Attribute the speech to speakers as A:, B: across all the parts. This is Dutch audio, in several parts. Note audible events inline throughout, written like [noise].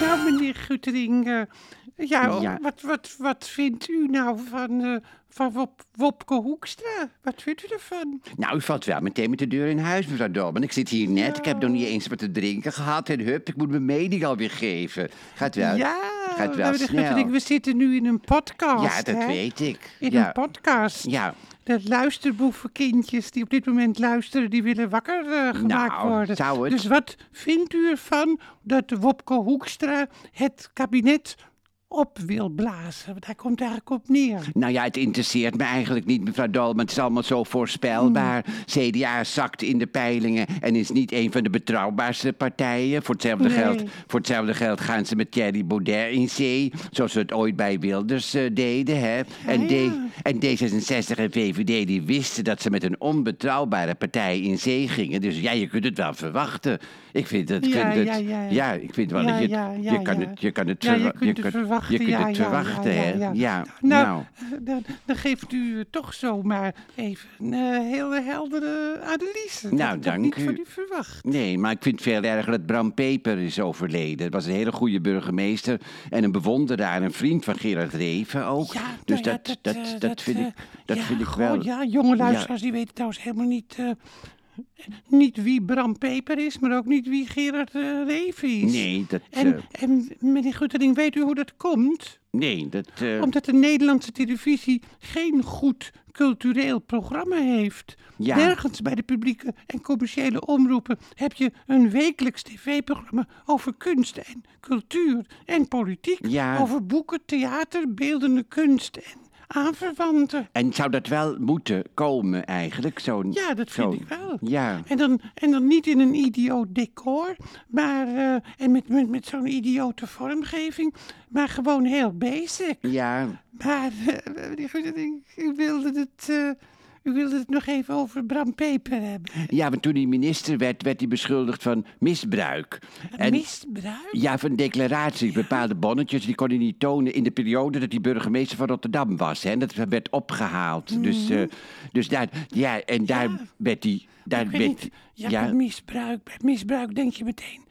A: Nou, meneer Guttering, eh, ja,
B: Ja.
A: Wat, wat, wat vindt u nou van, eh, van Wop, Wopke Hoekstra? Wat vindt u ervan?
B: Nou, u valt wel meteen met de deur in huis, mevrouw Dolman. Ik zit hier net, ik heb nog niet eens wat te drinken gehad. En hup, ik moet mijn mening alweer geven. Gaat wel. gaat wel
A: nou, meneer
B: snel.
A: Guttering, we zitten nu in een podcast.
B: Ja, dat
A: hè?
B: weet ik.
A: In
B: ja.
A: een podcast.
B: Ja.
A: De luisterboevenkindjes die op dit moment luisteren, die willen wakker eh, gemaakt
B: Nou,
A: worden.
B: zou het-
A: Dus wat vindt u ervan dat Wopke Hoekstra het kabinet op wil blazen? Want hij komt eigenlijk op neer.
B: Nou ja, het interesseert me eigenlijk niet, mevrouw Dolman. Het is allemaal zo voorspelbaar.
A: Hmm.
B: CDA zakt in de peilingen en is niet een van de betrouwbaarste partijen. Voor hetzelfde,
A: Nee.
B: geld, voor hetzelfde geld gaan ze met Thierry Baudet in zee. Zoals ze het ooit bij Wilders eh, deden. Hè? En, D-
A: Ah, ja.
B: en D66 en VVD die wisten dat ze met een onbetrouwbare partij in zee gingen. Dus ja, je kunt het wel verwachten. Ik vind het...
A: Ja,
B: kunt het-
A: ja, ja.
B: ik vind wel
A: Ja,
B: dat je,
A: ja,
B: je
A: ja,
B: kan
A: ja.
B: het... Je kan het
A: Ja, je
B: verwa-
A: kunt het verwachten.
B: Je kunt
A: ja,
B: het
A: ja, ja,
B: verwachten,
A: ja,
B: hè.
A: ja.
B: nou.
A: Nou, Dan, dan geeft u toch zomaar even een eh, hele heldere analyse.
B: Nou,
A: dat
B: dank
A: ik dat niet
B: u.
A: van u verwacht.
B: Nee, maar ik vind het veel erger dat Bram Peper is overleden. Dat was een hele goede burgemeester en een bewonderaar en een vriend van Gerard Reven ook.
A: Ja, nou
B: dus
A: ja,
B: dat, dat,
A: eh,
B: dat, vind,
A: eh,
B: ik, dat
A: ja,
B: vind ik
A: goh,
B: wel.
A: Ja, jonge luisteraars die weten trouwens helemaal niet, eh, niet wie Bram Peper is, maar ook niet wie Gerard eh, Reven is.
B: Nee, dat.
A: En,
B: eh,
A: en meneer Guttering, weet u hoe dat komt?
B: nee, dat. eh,
A: Omdat de Nederlandse televisie geen goed cultureel programma heeft.
B: Ja.
A: Nergens bij de publieke en commerciële omroepen heb je een wekelijks tv-programma over kunst en cultuur en politiek.
B: Ja.
A: Over boeken, theater, beeldende kunst en aanverwanten.
B: en zou dat wel moeten komen eigenlijk? Zo'n,
A: Ja, dat vind
B: zo'n-
A: ik wel.
B: Ja.
A: En dan, en dan niet in een idioot decor, maar eh, en met, met, met zo'n idiote vormgeving, maar gewoon heel basic.
B: Ja,
A: Maar, eh, meneer Goedending, u wilde het... eh, u wilde het nog even over Bram Peper hebben.
B: ja, want toen hij minister werd, werd hij beschuldigd van misbruik. En-
A: Misbruik?
B: Ja, van declaraties, bepaalde bonnetjes, die kon hij niet tonen in de periode dat hij burgemeester van Rotterdam was. Hè? En Dat werd opgehaald.
A: Mhm.
B: Dus, eh, dus daar, ja, en daar werd hij, daar
A: Ik weet
B: werd,
A: niet. Ja, bij misbruik. Bij misbruik denk je meteen...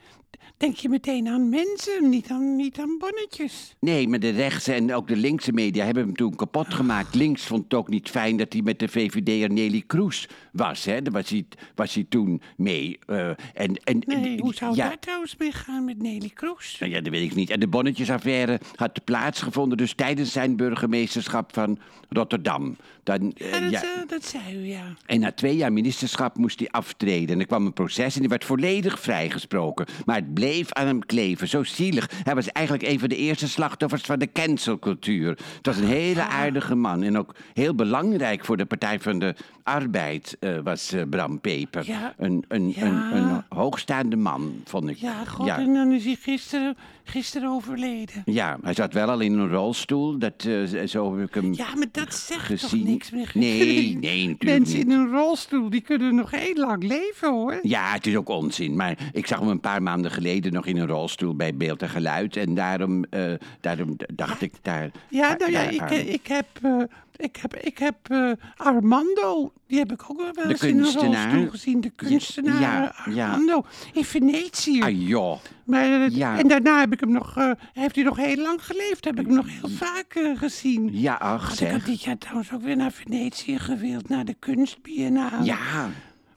A: Denk je meteen aan mensen, niet aan, niet aan bonnetjes.
B: nee, maar de rechtse en ook de linkse media hebben hem toen
A: Ah.
B: kapot gemaakt. Links vond het ook niet fijn dat hij met de VVD'er Nelly Kroes was, hè. Daar was hij, was hij toen mee. eh, en, en,
A: Nee, hoe zou
B: ja,
A: daar trouwens mee gaan met Nelly Kroes?
B: Nou ja, dat weet ik niet. En de bonnetjesaffaire had plaatsgevonden dus tijdens zijn burgemeesterschap van Rotterdam. Dan, eh,
A: Ja, dat,
B: ja.
A: eh, dat zei u, ja.
B: En na twee jaar ministerschap moest hij aftreden. En er kwam een proces en hij werd volledig vrijgesproken. Maar het bleef aan hem kleven, zo zielig. Hij was eigenlijk een van de eerste slachtoffers van de cancelcultuur. Het was een hele
A: Ah.
B: aardige man. En ook heel belangrijk voor de Partij van de Arbeid eh, was eh, Bram Peper.
A: Ja.
B: Een, een,
A: Ja.
B: Een, een hoogstaande man, vond ik.
A: Ja, god,
B: Ja.
A: en dan is hij gisteren, gisteren overleden.
B: Ja, hij zat wel al in een rolstoel. Dat, eh, zo heb ik hem...
A: Ja, maar dat zegt
B: gezien.
A: toch niks, meneer [laughs]
B: Nee,
A: Guttering?
B: nee, natuurlijk
A: Mensen
B: niet.
A: in een rolstoel, die kunnen nog heel lang leven, hoor.
B: Ja, het is ook onzin. Maar ik zag hem een paar maanden geleden nog in een rolstoel bij Beeld en Geluid. En daarom, eh, daarom d- dacht ik daar.
A: Ja, nou ja,
B: daar
A: ik,
B: aan.
A: eh, ik heb, eh, ik heb, ik heb eh, Armando, die heb ik ook wel eens in een
B: kunstenaar.
A: rolstoel gezien. De kunstenaar
B: ja,
A: eh,
B: ja.
A: Armando in Venetië.
B: Ah joh.
A: maar, eh,
B: ja.
A: En daarna heb ik hem nog, eh, heeft hij nog heel lang geleefd. Heb ik hem nog heel vaak eh, gezien.
B: Ja, ach
A: Want ik had
B: zeg.
A: dit jaar trouwens ook weer naar Venetië gewild, naar de kunstbiennale.
B: Ja.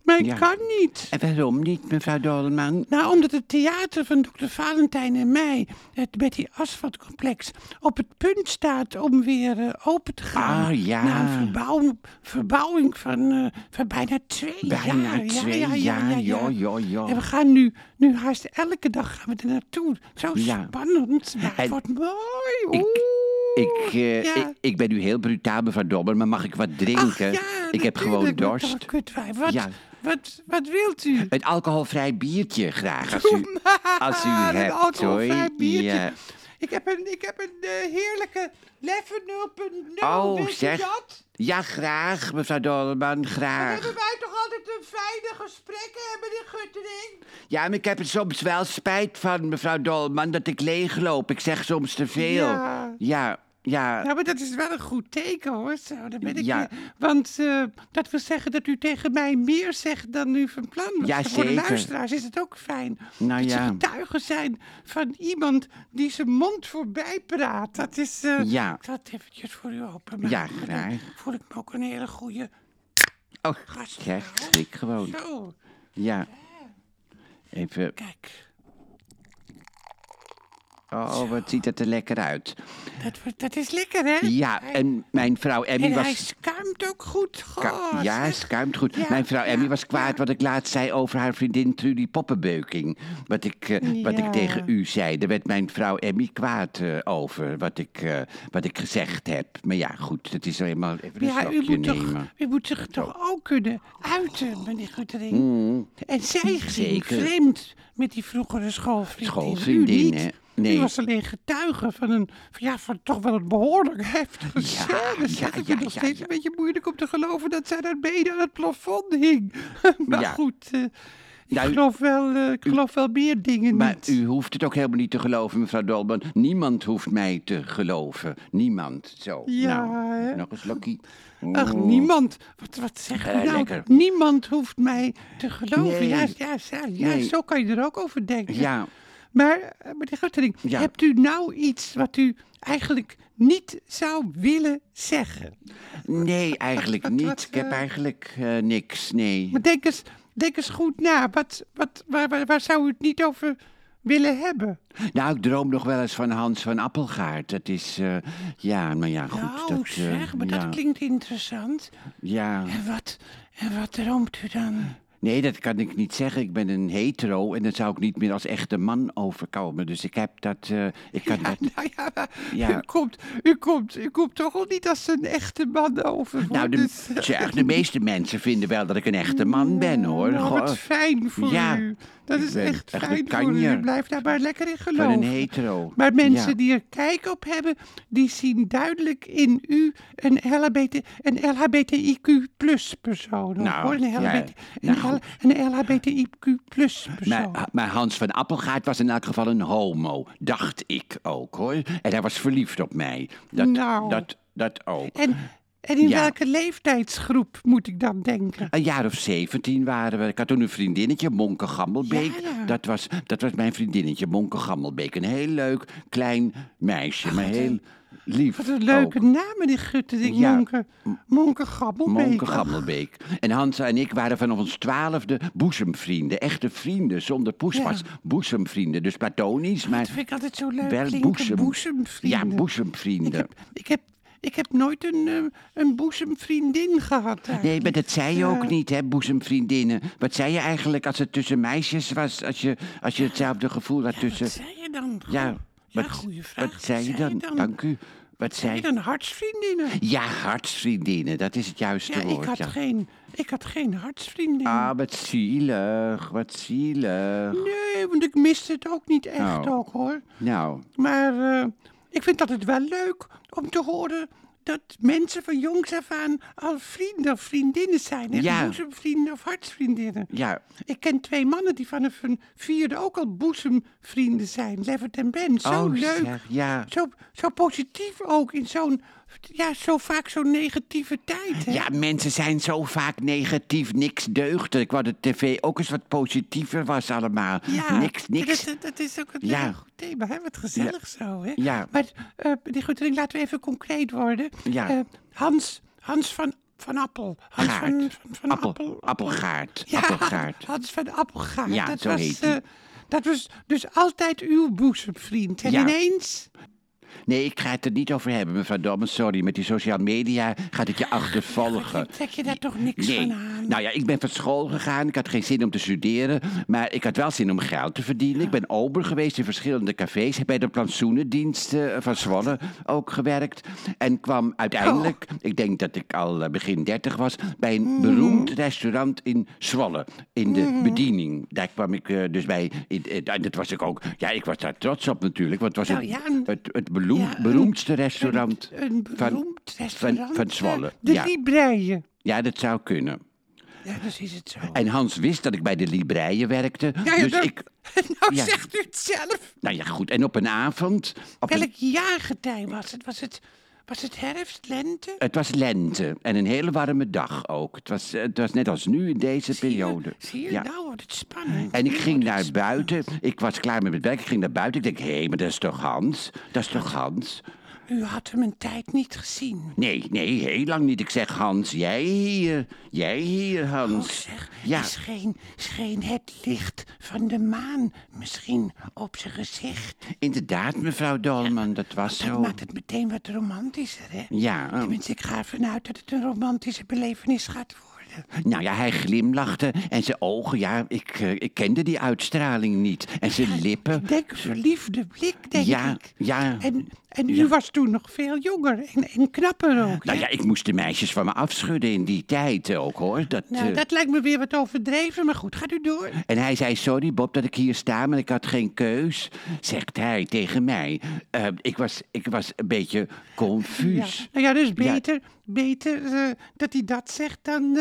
A: Maar ik
B: ja.
A: kan niet.
B: En waarom niet, mevrouw Dolman?
A: Nou, omdat het theater van Dr. Valentijn en mij, het Betty Asfaltcomplex, op het punt staat om weer eh, open te gaan.
B: Ah, ja.
A: Na een verbouw- verbouwing van, eh, van bijna twee
B: Bijna
A: jaar.
B: twee jaar, ja, ja, ja.
A: En we gaan nu, nu haast elke dag gaan we er naartoe. Zo
B: Ja.
A: spannend. Ja, het
B: En
A: wordt mooi.
B: ik-
A: Oeh.
B: Ik, eh,
A: ja.
B: ik, ik ben nu heel brutaal, mevrouw Dolman, maar mag ik wat drinken?
A: Ach, ja,
B: eh, ik heb gewoon
A: natuurlijk, met dat
B: dorst.
A: kutwijf. Wat,
B: Ja.
A: wat, wat wilt u?
B: Een alcoholvrij biertje graag,
A: [laughs]
B: als u, als u
A: Ah,
B: hebt.
A: een alcoholvrij
B: hoor.
A: biertje.
B: Ja.
A: Ik heb een, ik heb een eh, heerlijke Leffe 0.0.
B: Oh,
A: Weet
B: zeg.
A: je dat?
B: Ja, graag, mevrouw Dolman,
A: Dan
B: graag.
A: hebben wij toch altijd een fijne gesprekken, hè, meneer Guttering?
B: Ja, maar ik heb er soms wel spijt van, mevrouw Dolman, dat ik leegloop. Ik zeg soms te veel.
A: Ja.
B: ja. Ja,
A: Nou, maar dat is wel een goed teken hoor. Zo, daar ben ik
B: Ja.
A: weer. Want eh, dat wil zeggen dat u tegen mij meer zegt dan u van plan was.
B: Ja,
A: Voor de
B: zeker.
A: luisteraars is het ook fijn.
B: Nou
A: dat ze
B: ja.
A: getuigen zijn van iemand die zijn mond voorbij praat. Dat is. eh,
B: Ja.
A: Ik zal het eventjes voor u openmaken.
B: Ja, graag.
A: Dan voel ik me ook een hele goede
B: oh,
A: gast. nou.
B: ja, ik schrik gewoon.
A: Zo,
B: Ja. Even.
A: kijk.
B: Oh, wat ziet het er lekker uit.
A: Dat, wordt- dat is lekker hè?
B: Ja, en mijn vrouw Emmy
A: En hij
B: was.
A: schuimt ook goed. Goh,
B: ka- Ja,
A: zeg.
B: schuimt goed.
A: Oh, Ja,
B: Mijn vrouw
A: ja,
B: Emmy was
A: ja.
B: kwaad wat ik laatst zei over haar vriendin Trudy Poppenbeuking. Wat ik, eh, wat
A: Ja.
B: ik tegen u zei. Daar werd mijn vrouw Emmy kwaad eh, over. Wat ik, eh, wat ik gezegd heb. Maar ja, goed, het is helemaal even een
A: Ja, u
B: slokje
A: moet, toch,
B: nemen.
A: u moet zich toch ook kunnen uiten, meneer Guttering. En zij ging
B: Mm. Zeker.
A: vreemd met die vroegere schoolvriendin.
B: Schoolvriendin,
A: u niet.
B: hè? Nee.
A: U was alleen getuige van een, van, ja, van toch wel een behoorlijk heftige scène.
B: ja,
A: zeg. ik vind
B: ja,
A: het nog
B: ja,
A: steeds
B: ja.
A: een beetje moeilijk om te geloven dat zij daar beneden aan het plafond hing. [laughs] maar
B: Ja.
A: goed, eh, ik,
B: Nou, u-
A: geloof wel, eh, ik geloof wel meer dingen
B: Maar
A: niet.
B: u hoeft het ook helemaal niet te geloven, mevrouw Dolman. Niemand hoeft mij te geloven. Niemand. Zo.
A: Ja, hè?
B: nou, nog eens Lokkie.
A: Ach, niemand. Wat, wat zeg je
B: Eh,
A: nou?
B: lekker.
A: Niemand hoeft mij te geloven.
B: Nee.
A: Ja, ja, ja, ja,
B: Nee.
A: zo kan je er ook over denken.
B: Ja.
A: Maar, eh, meneer Guttering,
B: Ja.
A: hebt u nou iets wat u eigenlijk niet zou willen zeggen?
B: Nee, eigenlijk
A: Wat- wat,
B: niet. Ik heb
A: eh,
B: eigenlijk eh, niks. Nee.
A: Maar denk eens, denk eens goed na. Wat, wat, waar, waar, waar zou u het niet over willen hebben?
B: Nou, ik droom nog wel eens van Hans van Appelgaard. Dat is. eh, ja, maar ja, goed.
A: nou,
B: dat, eh,
A: zeg, maar
B: ja,
A: dat klinkt interessant.
B: Ja.
A: En wat, en wat droomt u dan?
B: Nee, dat kan ik niet zeggen. Ik ben een hetero en dan zou ik niet meer als echte man overkomen. Dus ik heb dat. eh, ik kan dat.
A: [laughs] Nou ja, maar
B: Ja.
A: U, komt, u, komt, u komt toch al niet als een echte man over. hoor.
B: Nou, de,
A: Dus,
B: zeg, de meeste mensen vinden wel dat ik een echte man ben, hoor.
A: nou,
B: Goh,
A: wat fijn voor
B: Ja,
A: u. Dat
B: ik
A: is
B: ben
A: echt
B: echt een
A: fijn voor u.
B: kanjer.
A: U blijft daar maar lekker in
B: van
A: geloven.
B: een hetero.
A: Maar mensen
B: Ja.
A: die er kijk op hebben, die zien duidelijk in u een, LHBT, een LHBTIQ plus persoon.
B: Nou,
A: hoor. Een,
B: ja,
A: LHBT,
B: nou
A: een,
B: goed.
A: L- een LHBTIQ plus persoon.
B: Maar, ah, maar Hans van Appelgaard was in elk geval een homo. Dacht ik ook, hoor. En hij was verliefd op mij. Dat,
A: Nou.
B: dat, dat ook.
A: en, en in
B: Ja.
A: welke leeftijdsgroep moet ik dan denken?
B: Een jaar of zeventien waren we. Ik had toen een vriendinnetje, Monke Gammelbeek.
A: Ja, ja.
B: Dat, was, dat was mijn vriendinnetje, Monke Gammelbeek. Een heel leuk, klein meisje, maar heel lief
A: Wat een
B: ook.
A: leuke naam, meneer Guttering.
B: Ja.
A: Monke, Monke Gabbelbeek.
B: Monke Gammelbeek. En Hansa en ik waren vanaf ons twaalfde boezemvrienden. Echte vrienden, zonder poespas. Boezemvrienden, dus platonisch, maar
A: Dat vind ik altijd zo leuk
B: wel
A: klinken,
B: boezem.
A: boezemvrienden.
B: Ja, boezemvrienden.
A: Ik heb, ik heb, ik heb nooit een, eh, een boezemvriendin gehad. eigenlijk.
B: Nee, maar dat zei je ook niet, hè, boezemvriendinnen. Wat zei je eigenlijk als het tussen meisjes was? Als je, als je hetzelfde gevoel had tussen...
A: Wat zei je dan?
B: Ja,
A: ja
B: wat,
A: goede vraag.
B: wat zei je dan? Dank u. Wat
A: Zei
B: zei
A: je dan hartsvriendinnen?
B: Ja, hartsvriendinnen, dat is het juiste
A: Ja, ik
B: woord.
A: had,
B: ja.
A: Geen, ik had geen hartsvriendin.
B: Ah, wat zielig, wat zielig.
A: Nee, want ik miste het ook niet echt
B: Oh.
A: ook hoor.
B: Nou,
A: Maar eh, ik vind dat het wel leuk om te horen dat mensen van jongs af aan al vrienden of vriendinnen zijn. Echt
B: Ja.
A: boezemvrienden of hartsvriendinnen.
B: ja,
A: Ik ken twee mannen die vanaf hun vierde ook al boezemvrienden zijn. Levert en Ben. Zo
B: Oh,
A: leuk.
B: zeg, ja.
A: Zo, zo positief ook in zo'n, ja, zo vaak zo'n negatieve tijd. Hè?
B: Ja, mensen zijn zo vaak negatief, niks deugd. Ik wou de tv ook eens wat positiever was allemaal.
A: Ja,
B: Niks, niks.
A: Dat, dat is ook een
B: Ja.
A: heel goed thema. Hè? Wat gezellig zo. Hè?
B: Ja.
A: Maar eh meneer Goedering, laten we even concreet worden.
B: Ja.
A: Eh, Hans, Hans van, van Appel. Hans
B: Gaard.
A: Van, van, van
B: Appel-
A: Appel.
B: Appelgaard.
A: Ja,
B: Appelgaard.
A: Hans van Appelgaard.
B: Ja,
A: dat
B: zo
A: was,
B: heet
A: eh,
B: hij.
A: dat was dus altijd uw boezemvriend. En
B: Ja.
A: ineens...
B: Nee, ik ga het er niet over hebben, mevrouw Domme. Sorry, met die social media gaat het je achtervolgen.
A: Godfried, trek je daar toch niks
B: Nee.
A: van aan?
B: Nou ja, ik ben van school gegaan. Ik had geen zin om te studeren. Maar ik had wel zin om geld te verdienen. Ik ben ober geweest in verschillende cafés. Heb bij de plantsoenendiensten eh, van Zwolle ook gewerkt. En kwam uiteindelijk,
A: Oh.
B: ik denk dat ik al eh, begin dertig was... bij een
A: Mm.
B: beroemd restaurant in Zwolle. In de bediening. Daar kwam ik eh, dus bij. In, eh, en dat was ik ook... Ja, ik was daar trots op natuurlijk. Want het was
A: Nou
B: het,
A: ja, een-
B: het, het beroem-
A: ja, een-
B: beroemdste restaurant...
A: Een, een
B: van-
A: beroemd restaurant.
B: Van, van
A: eh,
B: Zwolle,
A: De
B: ja.
A: Libreien.
B: Ja, dat zou kunnen.
A: Ja, dus is het zo.
B: En Hans wist dat ik bij de Libreien werkte.
A: Ja, ja,
B: dus
A: dat-
B: ik,
A: [laughs] nou
B: Ja.
A: zegt u het zelf.
B: Nou ja, goed. En op een avond... Op een-
A: Welk jaargetij was het? Was het, was het herfst, lente?
B: Het was lente en een hele warme dag ook. Het was, eh, het was net als nu in deze periode.
A: Zie je,
B: Ja.
A: nou wordt het spannend.
B: En ik ging naar buiten. Ik was klaar met mijn werk. Ik ging naar buiten. Ik denk, hé, maar dat is toch Hans? Dat is toch Hans?
A: U had hem een tijd niet gezien.
B: Nee, nee, heel lang niet. Ik zeg Hans, jij hier. Jij hier,
A: Oh,
B: Hans.
A: zeg,
B: Ja,
A: scheen, scheen het licht van de maan misschien op zijn gezicht.
B: inderdaad, mevrouw Dolman, dat was
A: Dat
B: zo.
A: maakt het meteen wat romantischer, hè?
B: Ja, eh,
A: Tenminste, ik ga ervan uit dat het een romantische belevenis gaat worden.
B: nou ja, hij glimlachte en zijn ogen, ja, ik, eh, ik kende die uitstraling niet. En zijn lippen,
A: Ik denk een verliefde blik, denk
B: ja,
A: ik.
B: ja.
A: En, en u was toen nog veel jonger en, en knapper ook.
B: Nou
A: hè?
B: ja, ik moest de meisjes van me afschudden in die tijd ook, hoor. Dat,
A: Nou,
B: eh,
A: dat lijkt me weer wat overdreven, maar goed, gaat u door.
B: En hij zei, sorry Bob dat ik hier sta, maar ik had geen keus, zegt hij tegen mij. Eh, ik, was, ik was een beetje
A: Ja.
B: confuus.
A: Nou ja, dus beter, beter eh, dat hij dat zegt dan...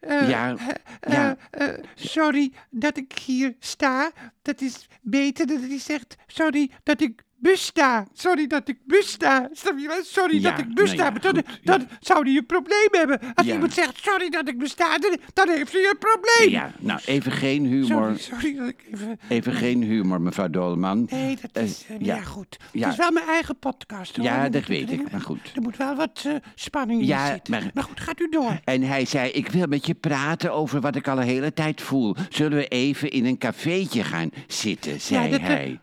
A: eh, eh,
B: Ja,
A: eh,
B: ja.
A: eh, eh, sorry dat ik hier sta. Dat is beter dat hij zegt... Sorry dat ik besta. Sorry dat ik besta. Snap je wel? Sorry
B: Ja,
A: dat ik
B: nou
A: besta.
B: ja,
A: maar dan,
B: goed,
A: dan
B: ja.
A: zou hij een probleem hebben. Als
B: Ja.
A: iemand zegt sorry dat ik besta, dan, dan heeft hij een probleem.
B: Ja, nou, even geen
A: sorry,
B: humor.
A: sorry dat ik even...
B: Even geen humor, mevrouw Dolman.
A: Nee, dat
B: Eh,
A: is... eh, ja.
B: ja.
A: goed.
B: Ja.
A: Het is wel mijn eigen podcast. hoor.
B: Ja,
A: Dan
B: dat
A: moet ik-
B: weet ik,
A: dan-
B: maar goed.
A: Er moet wel wat eh, spanning in
B: Ja,
A: zitten.
B: maar-
A: Maar goed, gaat u door.
B: En hij zei, ik wil met je praten over wat ik al een hele tijd voel. Zullen we even in een cafeetje gaan zitten, zei
A: dat-
B: hij.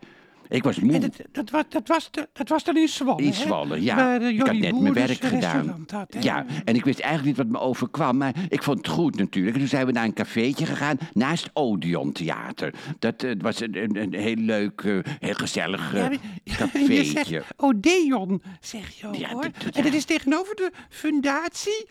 B: Ik was
A: eh, En
B: moe.
A: dat, dat, was, dat, was, de- dat was dan in Zwolle,
B: In
A: hè?
B: Zwolle, ja.
A: Waar eh,
B: ik had
A: Jordi
B: net mijn
A: Boer
B: werk
A: dus een
B: gedaan.
A: restaurant had, hè?
B: ja, en ik wist eigenlijk niet wat me overkwam, maar ik vond het goed natuurlijk. En toen zijn we naar een cafeetje gegaan naast Odeon Theater. Dat eh, was een, een, een heel leuk, eh, heel gezellig
A: [laughs]
B: eh,
A: Ja, maar-
B: cafeetje.
A: Je zegt Odeon, zeg je ook,
B: Ja,
A: hoor.
B: dat- dat-
A: En dat is tegenover de fundatie.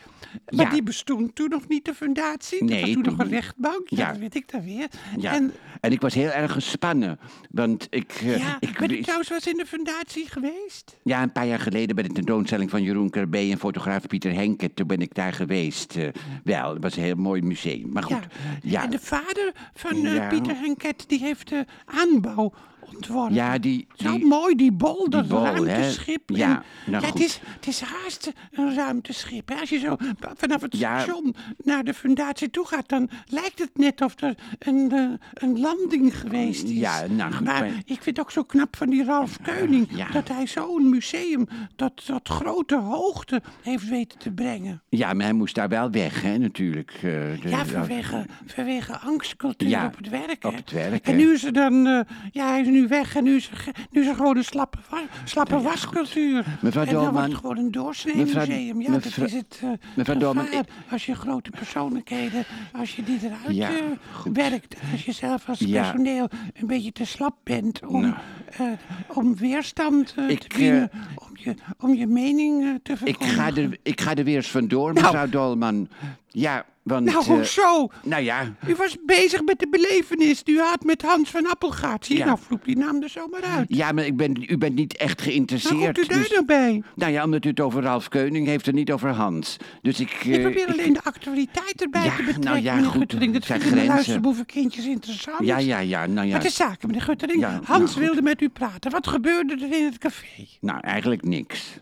A: Maar
B: Ja.
A: die bestond toen nog niet, de fundatie. Dat
B: Nee,
A: was toen
B: toen
A: nog een
B: niet.
A: rechtbank. Ja,
B: Ja.
A: dat weet ik dan weer.
B: ja.
A: En
B: en, ik was heel erg gespannen, want ik... eh,
A: ja,
B: ik
A: bent u
B: wist-
A: trouwens wel eens in de fundatie geweest?
B: Ja, een paar jaar geleden bij de tentoonstelling van Jeroen Kerbé en fotograaf Pieter Henke. Toen ben ik daar geweest. eh, wel, het was een heel mooi museum. Maar goed, ja.
A: En de vader van eh,
B: Ja.
A: Pieter Henket, die heeft de aanbouw ontworpen.
B: Ja, die-
A: Zo
B: die-
A: mooi, die bol, dat
B: bol, hè?
A: ruimteschip.
B: Ja,
A: En-
B: nou
A: ja, het,
B: goed.
A: is, het is haast een ruimteschip. Hè? Als je zo vanaf het
B: Ja.
A: station naar de fundatie toe gaat... dan lijkt het net of er een, eh, een landing geweest is.
B: Ja, nou goed,
A: Maar
B: maar-
A: ik vind het ook zo knap van die Ralf Keuning...
B: Ja.
A: dat hij zo'n museum tot, tot grote hoogte heeft weten te brengen.
B: Ja, maar hij moest daar wel weg, hè, natuurlijk. eh, de-
A: Ja, vanwege, vanwege angstcultuur
B: Ja,
A: op het werk. hè.
B: op het werk,
A: En
B: hè.
A: nu is er dan, eh, ja, hij is nu weg en nu is er, ge- nu is er gewoon een slappe, wa- slappe wascultuur.
B: Mevrouw
A: en dan wordt
B: Dolman-
A: het gewoon een
B: Mevrouw-
A: doorsnee-museum. Ja,
B: mevrouw-
A: dat is het eh,
B: mevrouw Dolman,
A: gevaar.
B: ik-
A: Als je grote persoonlijkheden, als je die eruit
B: Ja,
A: eh,
B: goed.
A: werkt. Als je zelf als
B: Ja.
A: personeel een beetje te slap bent om,
B: Nou.
A: eh, om weerstand eh,
B: Ik,
A: te bieden.
B: eh,
A: om, je, om je mening eh, te
B: Ik
A: verkondigen.
B: ga, er, ik ga er weer eens vandoor,
A: Nou.
B: mevrouw Dolman. Ja, want...
A: Nou,
B: eh,
A: hoezo?
B: nou ja,
A: U was bezig met de belevenis die u had met Hans van Appelgaard. Zie je,
B: Ja.
A: nou vloep die naam er zomaar uit.
B: ja maar ik ben, u bent niet echt
A: Hoe Nou, komt
B: geïnteresseerd.
A: u daar
B: dus-
A: nou bij?
B: nou ja, omdat u het over Ralf Keuning heeft en niet over Hans. Dus ik...
A: Ik
B: eh,
A: probeer alleen de actualiteit erbij
B: Ja,
A: te
B: nou
A: betrekken,
B: ja,
A: meneer
B: goed,
A: Guttering. Dat
B: het zijn
A: vinden de
B: grenzen.
A: luisterboevenkindjes interessant.
B: Ja, ja, ja, nou ja.
A: Wat is zaken, meneer Guttering?
B: Ja, nou,
A: Hans
B: goed.
A: wilde met u praten. Wat gebeurde er in het café?
B: Nou, eigenlijk niks.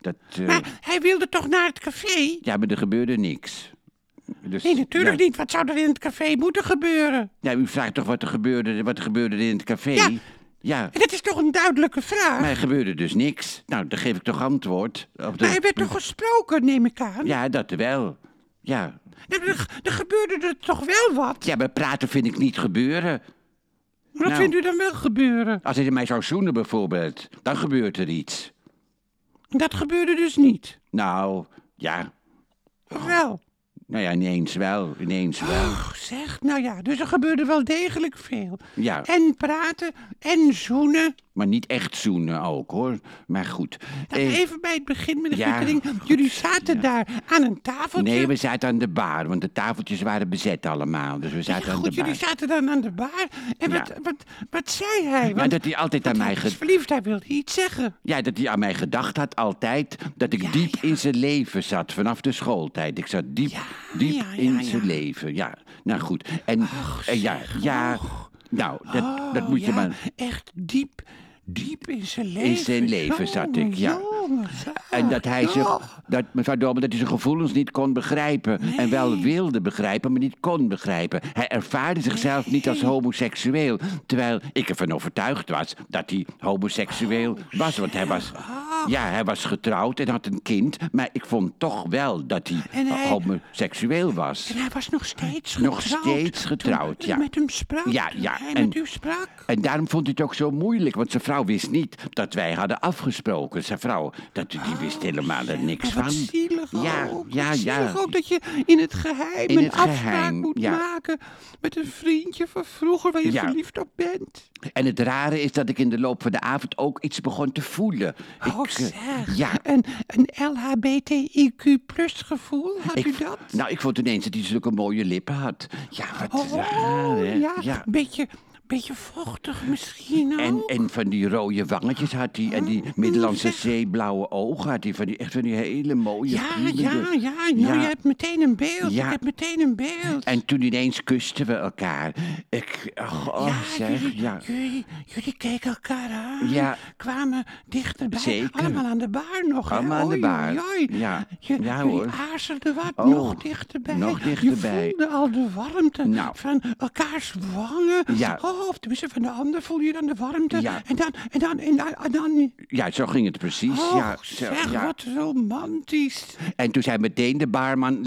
B: Dat... eh,
A: Maar hij wilde toch naar het café?
B: Ja, maar er gebeurde niks. Dus,
A: Nee, natuurlijk
B: ja.
A: niet. Wat zou er in het café moeten gebeuren?
B: Ja, u vraagt toch wat er gebeurde, wat er gebeurde in het café?
A: Ja.
B: Ja,
A: En dat is toch een duidelijke vraag?
B: maar
A: Maar,
B: er gebeurde dus niks. Nou, dan geef ik toch antwoord. Op de...
A: hij werd toch gesproken, neem ik aan?
B: Ja, dat wel. Ja.
A: Nou, er, er gebeurde er toch wel wat?
B: ja, maar praten vind ik niet gebeuren.
A: Maar wat
B: Nou.
A: vindt u dan wel gebeuren?
B: Als hij mij zou zoenen bijvoorbeeld, dan gebeurt er iets.
A: Dat gebeurde dus niet.
B: Nou, ja. Oh.
A: Of wel?
B: Nou ja, ineens wel, ineens wel.
A: Och, zeg, nou ja, dus er gebeurde wel degelijk veel.
B: Ja,
A: En praten en zoenen.
B: maar niet echt zoenen ook, hoor. Maar goed.
A: Nou,
B: Eh,
A: even bij het begin, meneer
B: ja,
A: Guttering. Jullie zaten daar aan een tafeltje.
B: nee, we zaten aan de bar, want de tafeltjes waren bezet allemaal. Dus we zaten
A: Ja,
B: aan de
A: goed,
B: bar.
A: jullie zaten dan aan de bar. En
B: Ja.
A: wat, wat, wat zei hij?
B: Maar
A: Want
B: dat hij altijd aan mij
A: hij
B: ge-
A: was verliefd, hij wilde iets zeggen.
B: Ja, dat hij aan mij gedacht had altijd. Dat ik
A: Ja,
B: diep
A: ja.
B: in zijn leven zat, vanaf de schooltijd. Ik zat diep,
A: Ja,
B: diep
A: ja, ja,
B: in zijn
A: ja.
B: leven. Ja, nou goed. En, en ja, ja, Nou, dat, dat moet je
A: Oh, ja,
B: maar...
A: Echt diep, diep in zijn leven.
B: In zijn leven zat ik, ja.
A: Jongen, ja.
B: En dat hij
A: Ah, Ja.
B: zich, dat mevrouw Dobbel, dat hij zijn gevoelens niet kon begrijpen. En wel wilde begrijpen, maar niet kon begrijpen. Hij ervaarde zichzelf niet als homoseksueel. Terwijl ik ervan overtuigd was dat hij homoseksueel
A: Oh,
B: was. Want hij was, ja, hij was getrouwd en had een kind. Maar ik vond toch wel dat hij,
A: En hij-
B: homoseksueel was.
A: En hij was nog steeds getrouwd.
B: Nog steeds getrouwd,
A: toen u
B: ja.
A: met hem sprak.
B: Ja, ja,
A: Toen hij
B: en-
A: met u sprak.
B: En daarom vond hij het ook zo moeilijk, want zijn vrouw wist niet dat wij hadden afgesproken. Zijn vrouw, dat, die wist helemaal er niks
A: Maar
B: van.
A: Oh, Wat zielig
B: ja,
A: ook.
B: ja,
A: wat
B: ja.
A: zielig ook dat je in het geheim
B: In
A: een
B: het
A: afspraak
B: geheim,
A: moet
B: ja.
A: maken met een vriendje van vroeger waar je
B: Ja.
A: verliefd op bent.
B: En het rare is dat ik in de loop van de avond ook iets begon te voelen.
A: Oh,
B: ik, eh,
A: zeg.
B: Ja.
A: Een, een LHBTIQ plus gevoel, had
B: Ik,
A: u dat?
B: Nou, ik vond ineens dat hij zulke mooie lippen had. Ja, wat
A: Oh,
B: raar, hè?
A: ja, Beetje, beetje vochtig misschien ook. Oh,
B: En, en van die rode wangetjes had hij. En die Middellandse
A: zeg.
B: zeeblauwe ogen had hij. Van die, echt van die hele mooie
A: ja, ja,
B: kriebende-
A: ja, nou, je hebt meteen een beeld.
B: dus. Ja.
A: Je hebt meteen een beeld.
B: En toen ineens kusten we elkaar. Ik, ach, oh, zeg,
A: jullie,
B: ja.
A: Jullie, jullie keken elkaar aan.
B: Ja.
A: Kwamen dichterbij.
B: Zeker.
A: Allemaal aan de baar nog. hè?
B: Allemaal aan de
A: Oei,
B: baar.
A: oei, oei.
B: Ja.
A: Je,
B: Ja,
A: jullie
B: hoor.
A: aarzelden wat.
B: Oh,
A: nog dichterbij.
B: nog
A: Je
B: dichterbij.
A: voelde al de warmte
B: Nou.
A: van elkaars wangen.
B: Ja.
A: Oh, of tenminste van de ander voel je dan de warmte.
B: Ja.
A: En dan, en dan, en dan, en dan
B: Ja, zo ging het precies.
A: oh,
B: ja, zo,
A: zeg,
B: ja.
A: wat romantisch.
B: En toen zei meteen de baarman,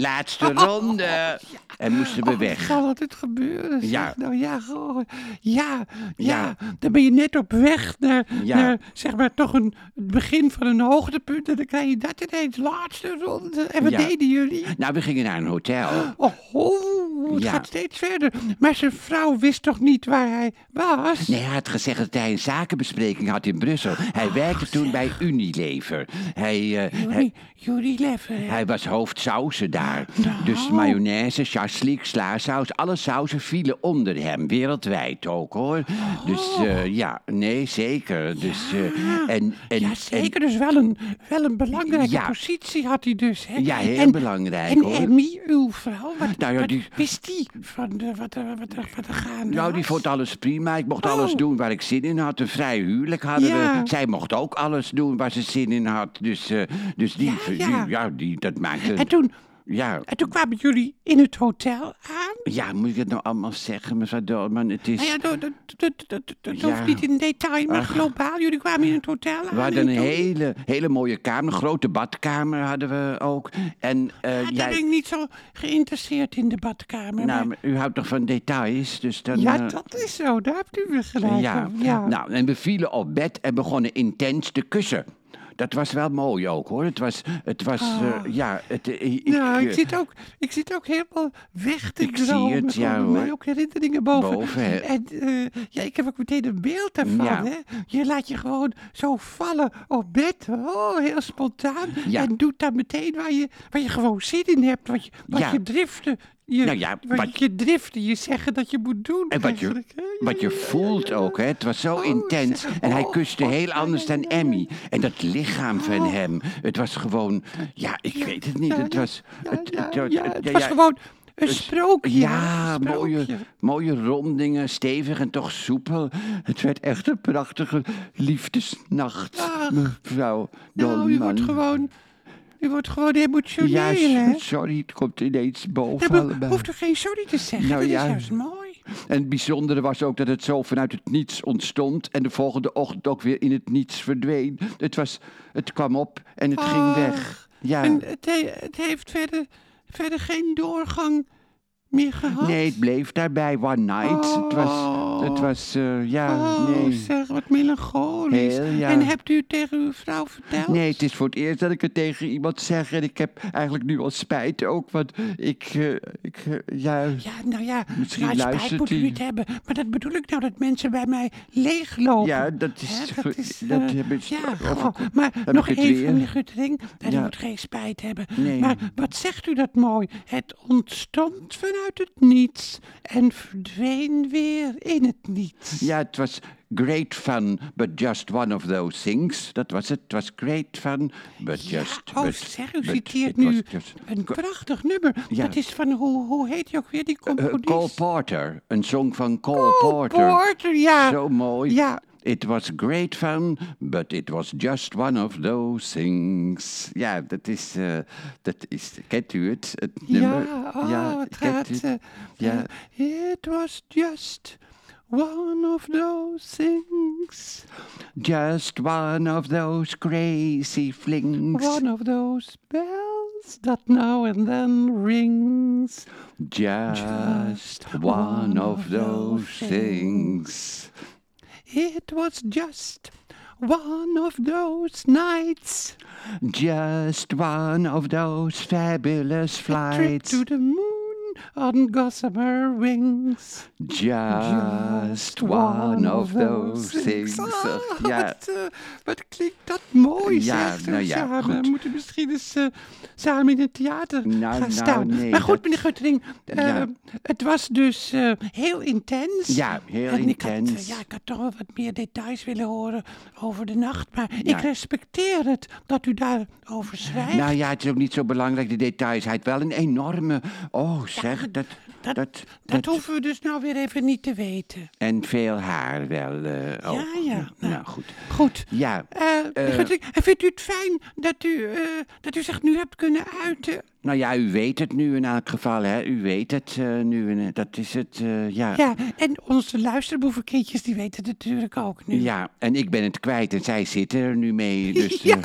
A: [laughs]
B: laatste ronde. En moesten we
A: Oh,
B: weg.
A: Zal dat het gebeuren? zeg.
B: Ja.
A: Nou ja, goh. ja, ja,
B: Ja.
A: Dan ben je net op weg naar,
B: Ja.
A: naar zeg maar, toch een, het begin van een hoogtepunt. En dan krijg je dat ineens, laatste ronde. En wat
B: Ja.
A: deden jullie?
B: Nou, we gingen naar een hotel.
A: [gasps] Oh, oh, het
B: Ja.
A: gaat steeds verder. Maar zijn vrouw wist toch niet waar hij was?
B: Nee, hij had gezegd dat hij een zakenbespreking had in Brussel. Hij
A: Oh,
B: werkte toen bij Unilever. Hij, eh, hij,
A: Jullie, jullie leffen. hè?
B: hij was hoofdsausen daar.
A: Oh.
B: Dus mayonaise, chasliek, slaasaus, alle sauzen vielen onder hem. Wereldwijd ook, hoor. Dus eh, ja, nee, zeker. Dus, eh, en, en,
A: Oh. ja,
B: en-
A: zeker. dus wel een, wel een belangrijke
B: Ja.
A: positie had hij dus. Hè?
B: Ja, heel
A: en,
B: belangrijk,
A: En
B: hoor.
A: Emmy, uw vrouw, wat,
B: Nou ja,
A: wat
B: die-
A: wist die van de, wat, er- wat, er- wat er gaande
B: Nou, die
A: was?
B: vond alles prima. Ik mocht
A: Oh.
B: alles doen waar ik zin in had. Een vrij huwelijk hadden
A: Ja.
B: we. Zij mocht ook alles doen waar ze zin in had. Dus, eh, dus die,
A: Ja,
B: die-
A: ja.
B: ja. die, dat maakte...
A: En toen,
B: Ja.
A: en toen kwamen jullie in het hotel aan.
B: ja, moet ik het nou allemaal zeggen, mevrouw Dolman? Het is...
A: Nou ja, dat, dat, dat, dat, dat
B: Ja.
A: hoeft niet in detail, maar
B: Ach.
A: globaal. Jullie kwamen in het hotel aan.
B: We hadden
A: en
B: een
A: toen-
B: hele, hele mooie kamer, een grote badkamer hadden we ook. En eh,
A: Ja, daar
B: jij-
A: ben ik niet zo geïnteresseerd in de badkamer.
B: nou,
A: maar-
B: maar u houdt toch van details, dus dan...
A: ja,
B: eh,
A: dat is zo. Daar hebt u weer gelijk
B: Ja.
A: op, ja.
B: nou, en we vielen op bed en begonnen intens te kussen. Dat was wel mooi ook, hoor. Het was, het was, eh, ja... Het, eh, ik,
A: Nou, Ah. ik
B: eh,
A: zit ook, ik zit ook helemaal weg te
B: Ik zie
A: dromen.
B: het, ja,
A: Er komen mij
B: hoor.
A: ook herinneringen boven.
B: Boven, hè.
A: En eh, ja, ik heb ook meteen een beeld daarvan.
B: Ja.
A: Hè? Je laat je gewoon zo vallen op bed. Oh, heel spontaan.
B: Ja.
A: En doet dan meteen waar je, waar je gewoon zin in hebt. Wat je, wat
B: Ja.
A: je driften. Je,
B: Nou ja,
A: wat,
B: wat-
A: je driften, je zeggen dat je moet doen.
B: En wat je,
A: eigenlijk, hè. Ja,
B: wat je
A: ja, ja,
B: voelt
A: ja.
B: ook, hè? het was zo
A: Oh,
B: intens.
A: zeg,
B: En hij
A: oh,
B: kuste
A: oh,
B: heel
A: ja,
B: anders
A: ja,
B: dan
A: ja, ja.
B: Emmy. En dat lichaam van hem, het was gewoon... Ja, ik weet het niet,
A: Ja,
B: het
A: ja,
B: was...
A: ja,
B: het-
A: ja,
B: het-
A: ja,
B: het-
A: het
B: ja,
A: was
B: ja,
A: gewoon een
B: het-
A: sprookje.
B: Ja,
A: een sprookje.
B: mooie, mooie rondingen, stevig en toch soepel. Het werd echt een prachtige liefdesnacht,
A: Ach.
B: mevrouw
A: Nou, u wordt
B: Dolman.
A: gewoon, u wordt gewoon emotioneel,
B: Ja,
A: hè?
B: s- sorry, het komt ineens boven
A: Daar be-
B: allemaal.
A: hoeft er geen sorry te zeggen,
B: Nou
A: dat
B: ja.
A: is juist mooi.
B: En het bijzondere was ook dat het zo vanuit het niets ontstond en de volgende ochtend ook weer in het niets verdween. Het, was, het kwam op en het ging
A: Ach,
B: weg. Ja.
A: En het, he- het heeft verder, verder geen doorgang meer gehad.
B: Nee, het bleef daarbij. One night. Het was, het was eh, ja,
A: Oh,
B: nee.
A: zeg, wat melancholisch.
B: Heel, ja.
A: En hebt u het tegen uw vrouw verteld?
B: Nee, het is voor het eerst dat ik het tegen iemand zeg. En ik heb eigenlijk nu al spijt ook, want ik, eh, ik eh, ja,
A: Ja, nou ja,
B: Misschien
A: nou, spijt
B: luistert
A: moet u
B: hij.
A: het hebben. Maar dat bedoel ik nou, dat mensen bij mij leeglopen.
B: Ja, dat is
A: Hè,
B: goed.
A: dat is,
B: Dat
A: eh,
B: heb ik-
A: ja,
B: of
A: goh,
B: ik-
A: maar
B: heb
A: nog
B: ik het
A: even,
B: weer?
A: meneer Guttering. En u
B: Ja.
A: moet geen spijt hebben.
B: Nee.
A: Maar wat zegt u dat mooi? Het ontstond vanuit het niets en verdween weer in het niets.
B: ja, het was Great fun, but just one of those things. Dat was het. Het was great fun, but
A: Ja,
B: just...
A: oh,
B: but-
A: zeg, u
B: but
A: citeert
B: it was
A: nu
B: just-
A: een prachtig nummer.
B: Ja.
A: Dat is van, hoe, hoe heet hij ook weer, die
B: Eh,
A: componist?
B: Cole Porter, een song van Cole,
A: Cole
B: Porter.
A: Porter, ja.
B: Zo mooi.
A: Ja.
B: It was great fun, but it was just one of those things. Ja, dat is, eh, dat is kent u het? het nummer?
A: Ja, oh, het
B: kent
A: gaat.
B: u het?
A: eh,
B: ja.
A: eh, it was just one of those things.
B: Just one of those crazy flings.
A: One of those bells that now and then rings.
B: Just one of those things.
A: It was just one of those nights.
B: Just one of those fabulous
A: A trip
B: flights.
A: to the moon on gossamer wings.
B: Just one of those things.
A: Ah,
B: [laughs] Ja,
A: wat, eh, wat klinkt dat mooi,
B: Ja,
A: zeg. zo
B: nou ja,
A: samen.
B: goed.
A: We moeten misschien eens eh, samen in het theater
B: Nou,
A: gaan
B: nou,
A: staan.
B: nee,
A: maar goed,
B: dat-
A: meneer Guttering, eh,
B: Ja.
A: het was dus eh, heel intens.
B: Ja, heel
A: en Ik had, eh,
B: intens.
A: ja, ik had toch wel wat meer details willen horen over de nacht. Maar
B: Ja.
A: ik respecteer het dat u daarover schrijft.
B: nou ja, het is ook niet zo belangrijk, de details. Hij had wel een enorme... Oh, zeg, dat...
A: dat,
B: dat,
A: dat, hoeven we dus nou weer even niet te weten.
B: En veel haar wel eh, ook.
A: ja, ja.
B: Nou, goed.
A: Goed.
B: Ja,
A: Eh, Guttering, en vindt u het fijn dat u, eh, dat u zich nu hebt kunnen uiten?
B: nou ja, u weet het nu in elk geval, hè. U weet het eh, nu, en, eh, dat is het, eh, ja.
A: Ja, en onze luisterboevenkindjes die weten het natuurlijk ook [laughs] nu.
B: Ja, en ik ben het kwijt en zij zitten er nu
A: [laughs]
B: mee, dus... eh,
A: Ja,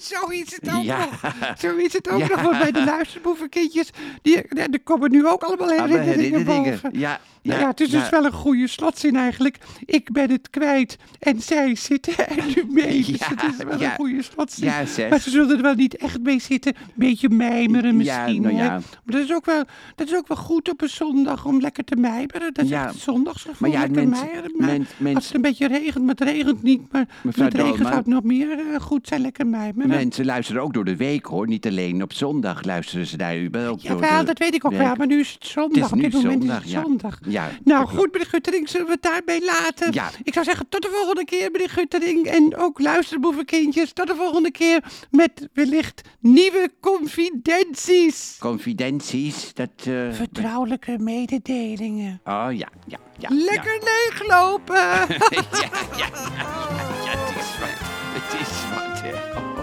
A: zo is het ook
B: Ja.
A: nog.
B: [laughs]
A: Zo is het ook
B: Ja.
A: nog. Want bij de luisterboevenkindjes, die, er er komen nu ook allemaal
B: allemaal
A: herinneringen,
B: herinneringen.
A: boven.
B: Ja,
A: Nou
B: ja,
A: ja, het is dus
B: ja.
A: wel een goede slotzin eigenlijk. Ik ben het kwijt en zij zitten er nu mee. Dus
B: Ja,
A: het is wel
B: ja.
A: een goede slotzin.
B: Ja, zeg.
A: Maar ze zullen er wel niet echt mee zitten. Een beetje mijmeren
B: Ja,
A: misschien.
B: nou
A: hè.
B: ja.
A: Maar dat is, ook wel, dat is ook wel goed op een zondag om lekker te mijmeren. Dat is
B: Ja.
A: echt het zondagsgevoel.
B: Maar ja,
A: lekker
B: mensen-
A: mijmeren. Maar
B: men- mensen-
A: als het een beetje regent, maar het regent niet. Maar
B: Mevrouw
A: met regen
B: Dolman.
A: zou het nog meer eh, goed zijn. Lekker mijmeren.
B: Mensen luisteren ook door de week hoor. Niet alleen op zondag luisteren ze daar überhaupt door.
A: Jawel,
B: de
A: dat weet ik ook
B: week.
A: wel, maar nu is het zondag.
B: Het is
A: Op dit
B: nu
A: moment
B: zondag,
A: is
B: ja.
A: het zondag.
B: Ja,
A: nou
B: dat klopt.
A: goed, meneer Guttering, zullen we het daarbij laten?
B: Ja.
A: Ik zou zeggen, tot de volgende keer, meneer Guttering. En ook luisterboevenkindjes, tot de volgende keer met wellicht nieuwe confidenties.
B: Confidenties, dat. eh,
A: Vertrouwelijke mededelingen.
B: Oh ja, ja, ja.
A: Lekker leeglopen!
B: Ja, ja, ja, ja, ja, het is wat. Het is wat, hè.